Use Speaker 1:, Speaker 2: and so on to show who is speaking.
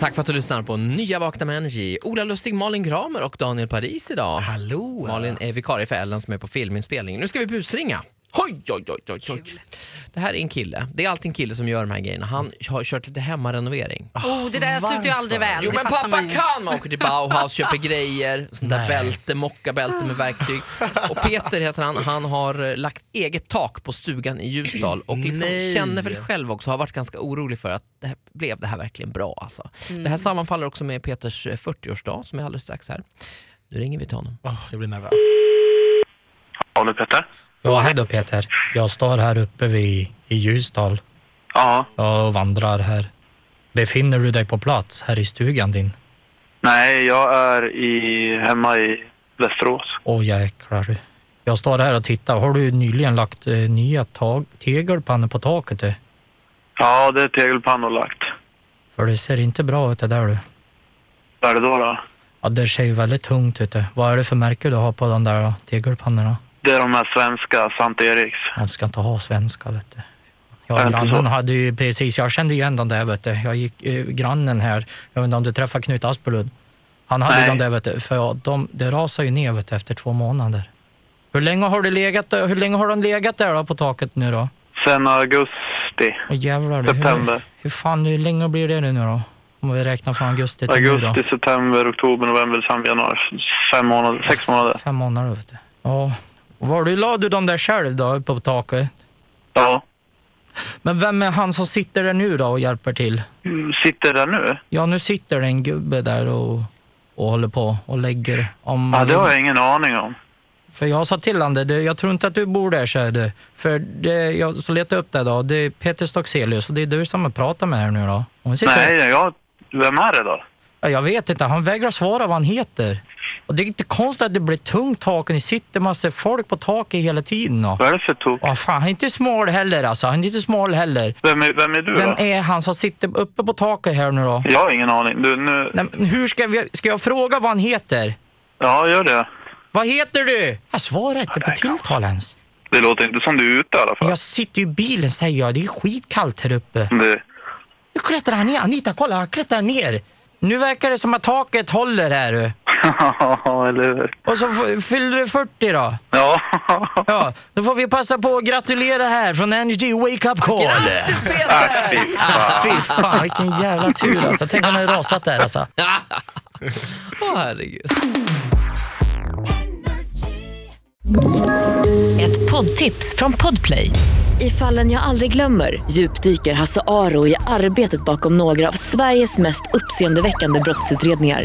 Speaker 1: Tack för att du lyssnar på Nya Vakna med Energy. Ola Lustig, Malin Gramer och Daniel Paris idag.
Speaker 2: Hallå!
Speaker 1: Malin är vikarie för Ellen som är på filminspelning. Nu ska vi busringa. Oj, oj, oj, oj, oj. Det här är en kille. Det är alltid en kille som gör de här grejerna. Han har kört lite hemmarenovering.
Speaker 3: Oh, det där slutar ju aldrig
Speaker 2: Varför?
Speaker 3: väl.
Speaker 1: Jo
Speaker 3: det
Speaker 1: men
Speaker 3: fattar
Speaker 1: pappa
Speaker 3: man ju.
Speaker 1: kan! Man åker till Bauhaus, köper grejer, sånt där
Speaker 2: Nej.
Speaker 1: bälte, mockabälte med verktyg. Och Peter heter han, han har eh, lagt eget tak på stugan i Ljusdal och liksom
Speaker 2: Nej.
Speaker 1: känner väl själv också, har varit ganska orolig för att det här, blev det här verkligen bra alltså.
Speaker 3: Mm.
Speaker 1: Det här sammanfaller också med Peters eh, 40-årsdag som är alldeles strax här. Nu ringer vi till honom.
Speaker 2: Åh, jag blir nervös.
Speaker 4: Ja, nu Petter?
Speaker 5: Ja, hej då Peter. Jag står här uppe vid, i Ljusdal
Speaker 4: Ja.
Speaker 5: Ja, och vandrar här. Befinner du dig på plats här i stugan din?
Speaker 4: Nej, jag är i, hemma i Västerås.
Speaker 5: Åh jäklar du. Jag står här och tittar. Har du nyligen lagt eh, nya tag- tegelpannor på taket du?
Speaker 4: Ja, det är tegelpannor lagt.
Speaker 5: För det ser inte bra ut det där du.
Speaker 4: Vad är det då? då?
Speaker 5: Ja, det ser ju väldigt tungt ut du. Vad är det för märke du har på de där då, tegelpannorna?
Speaker 4: Det är de här svenska, Sankt Eriks.
Speaker 5: Man ska inte ha svenska vet du.
Speaker 4: Är
Speaker 5: Ja,
Speaker 4: det inte
Speaker 5: grannen
Speaker 4: så?
Speaker 5: hade ju precis, jag kände igen den där vet du. Jag gick, eh, grannen här, jag vet inte om du träffar Knut Aspelund. Han hade
Speaker 4: Nej.
Speaker 5: den där vet du, för ja, de, det rasar ju ner vet du, efter två månader. Hur länge har det legat där, hur länge har de legat där då på taket nu då?
Speaker 4: Sen augusti.
Speaker 5: Åh jävlar du, hur,
Speaker 4: September.
Speaker 5: hur fan, hur länge blir det nu då? Om vi räknar från augusti till nu då?
Speaker 4: Augusti, september, oktober, november, december, januari. Fem månader, sex månader.
Speaker 5: Fem månader vet du. Ja. Var du, la du dem där själv då på taket?
Speaker 4: Ja.
Speaker 5: Men vem är han som sitter där nu då och hjälper till?
Speaker 4: Mm, Sitter där nu?
Speaker 5: Ja, nu sitter det en gubbe där och, och håller på och lägger om...
Speaker 4: Ja, det har jag ingen aning om.
Speaker 5: För jag sa till honom det, du, jag tror inte att du bor där, sa jag det. För det, jag så letade upp det då, det är Peter Stockselius och det är du som pratar med här nu då. Hon sitter,
Speaker 4: Nej, jag... Vem är det då?
Speaker 5: Ja, Jag vet inte, han vägrar svara vad han heter. Och det är inte konstigt att det blir tungt tak och ni sitter massa folk på taket hela tiden. Och,
Speaker 4: Vad är det för tok?
Speaker 5: och fan, han är inte smal heller alltså, han är inte smal heller.
Speaker 4: Vem är, vem är du
Speaker 5: Vem
Speaker 4: då?
Speaker 5: är han som sitter uppe på taket här nu då?
Speaker 4: Jag har ingen aning. Du, nu...
Speaker 5: Nej, men hur ska, vi, ska jag fråga vad han heter?
Speaker 4: Ja, gör det.
Speaker 5: Vad heter du? Jag svarar inte på tilltal ens.
Speaker 4: Det låter inte som du är ute i alla fall.
Speaker 5: Jag sitter ju i bilen säger jag. Det är skitkallt här uppe.
Speaker 4: Det...
Speaker 5: Nu klättrar han ner. Anita, kolla, han klättrar ner. Nu verkar det som att taket håller här. du.
Speaker 4: Ja, eller hur?
Speaker 5: Och så f- fyller du 40 då.
Speaker 4: Ja.
Speaker 5: Ja, då får vi passa på att gratulera här från NG Wake Up Call. Ah,
Speaker 1: Grattis Peter!
Speaker 4: Ack, fy
Speaker 5: Fy
Speaker 4: fan.
Speaker 5: fan, vilken jävla tur alltså. Tänk om han hade rasat där alltså.
Speaker 1: Åh herregud.
Speaker 6: Ett poddtips från Podplay. I fallen jag aldrig glömmer djupdyker Hasse Aro i arbetet bakom några av Sveriges mest uppseendeväckande brottsutredningar.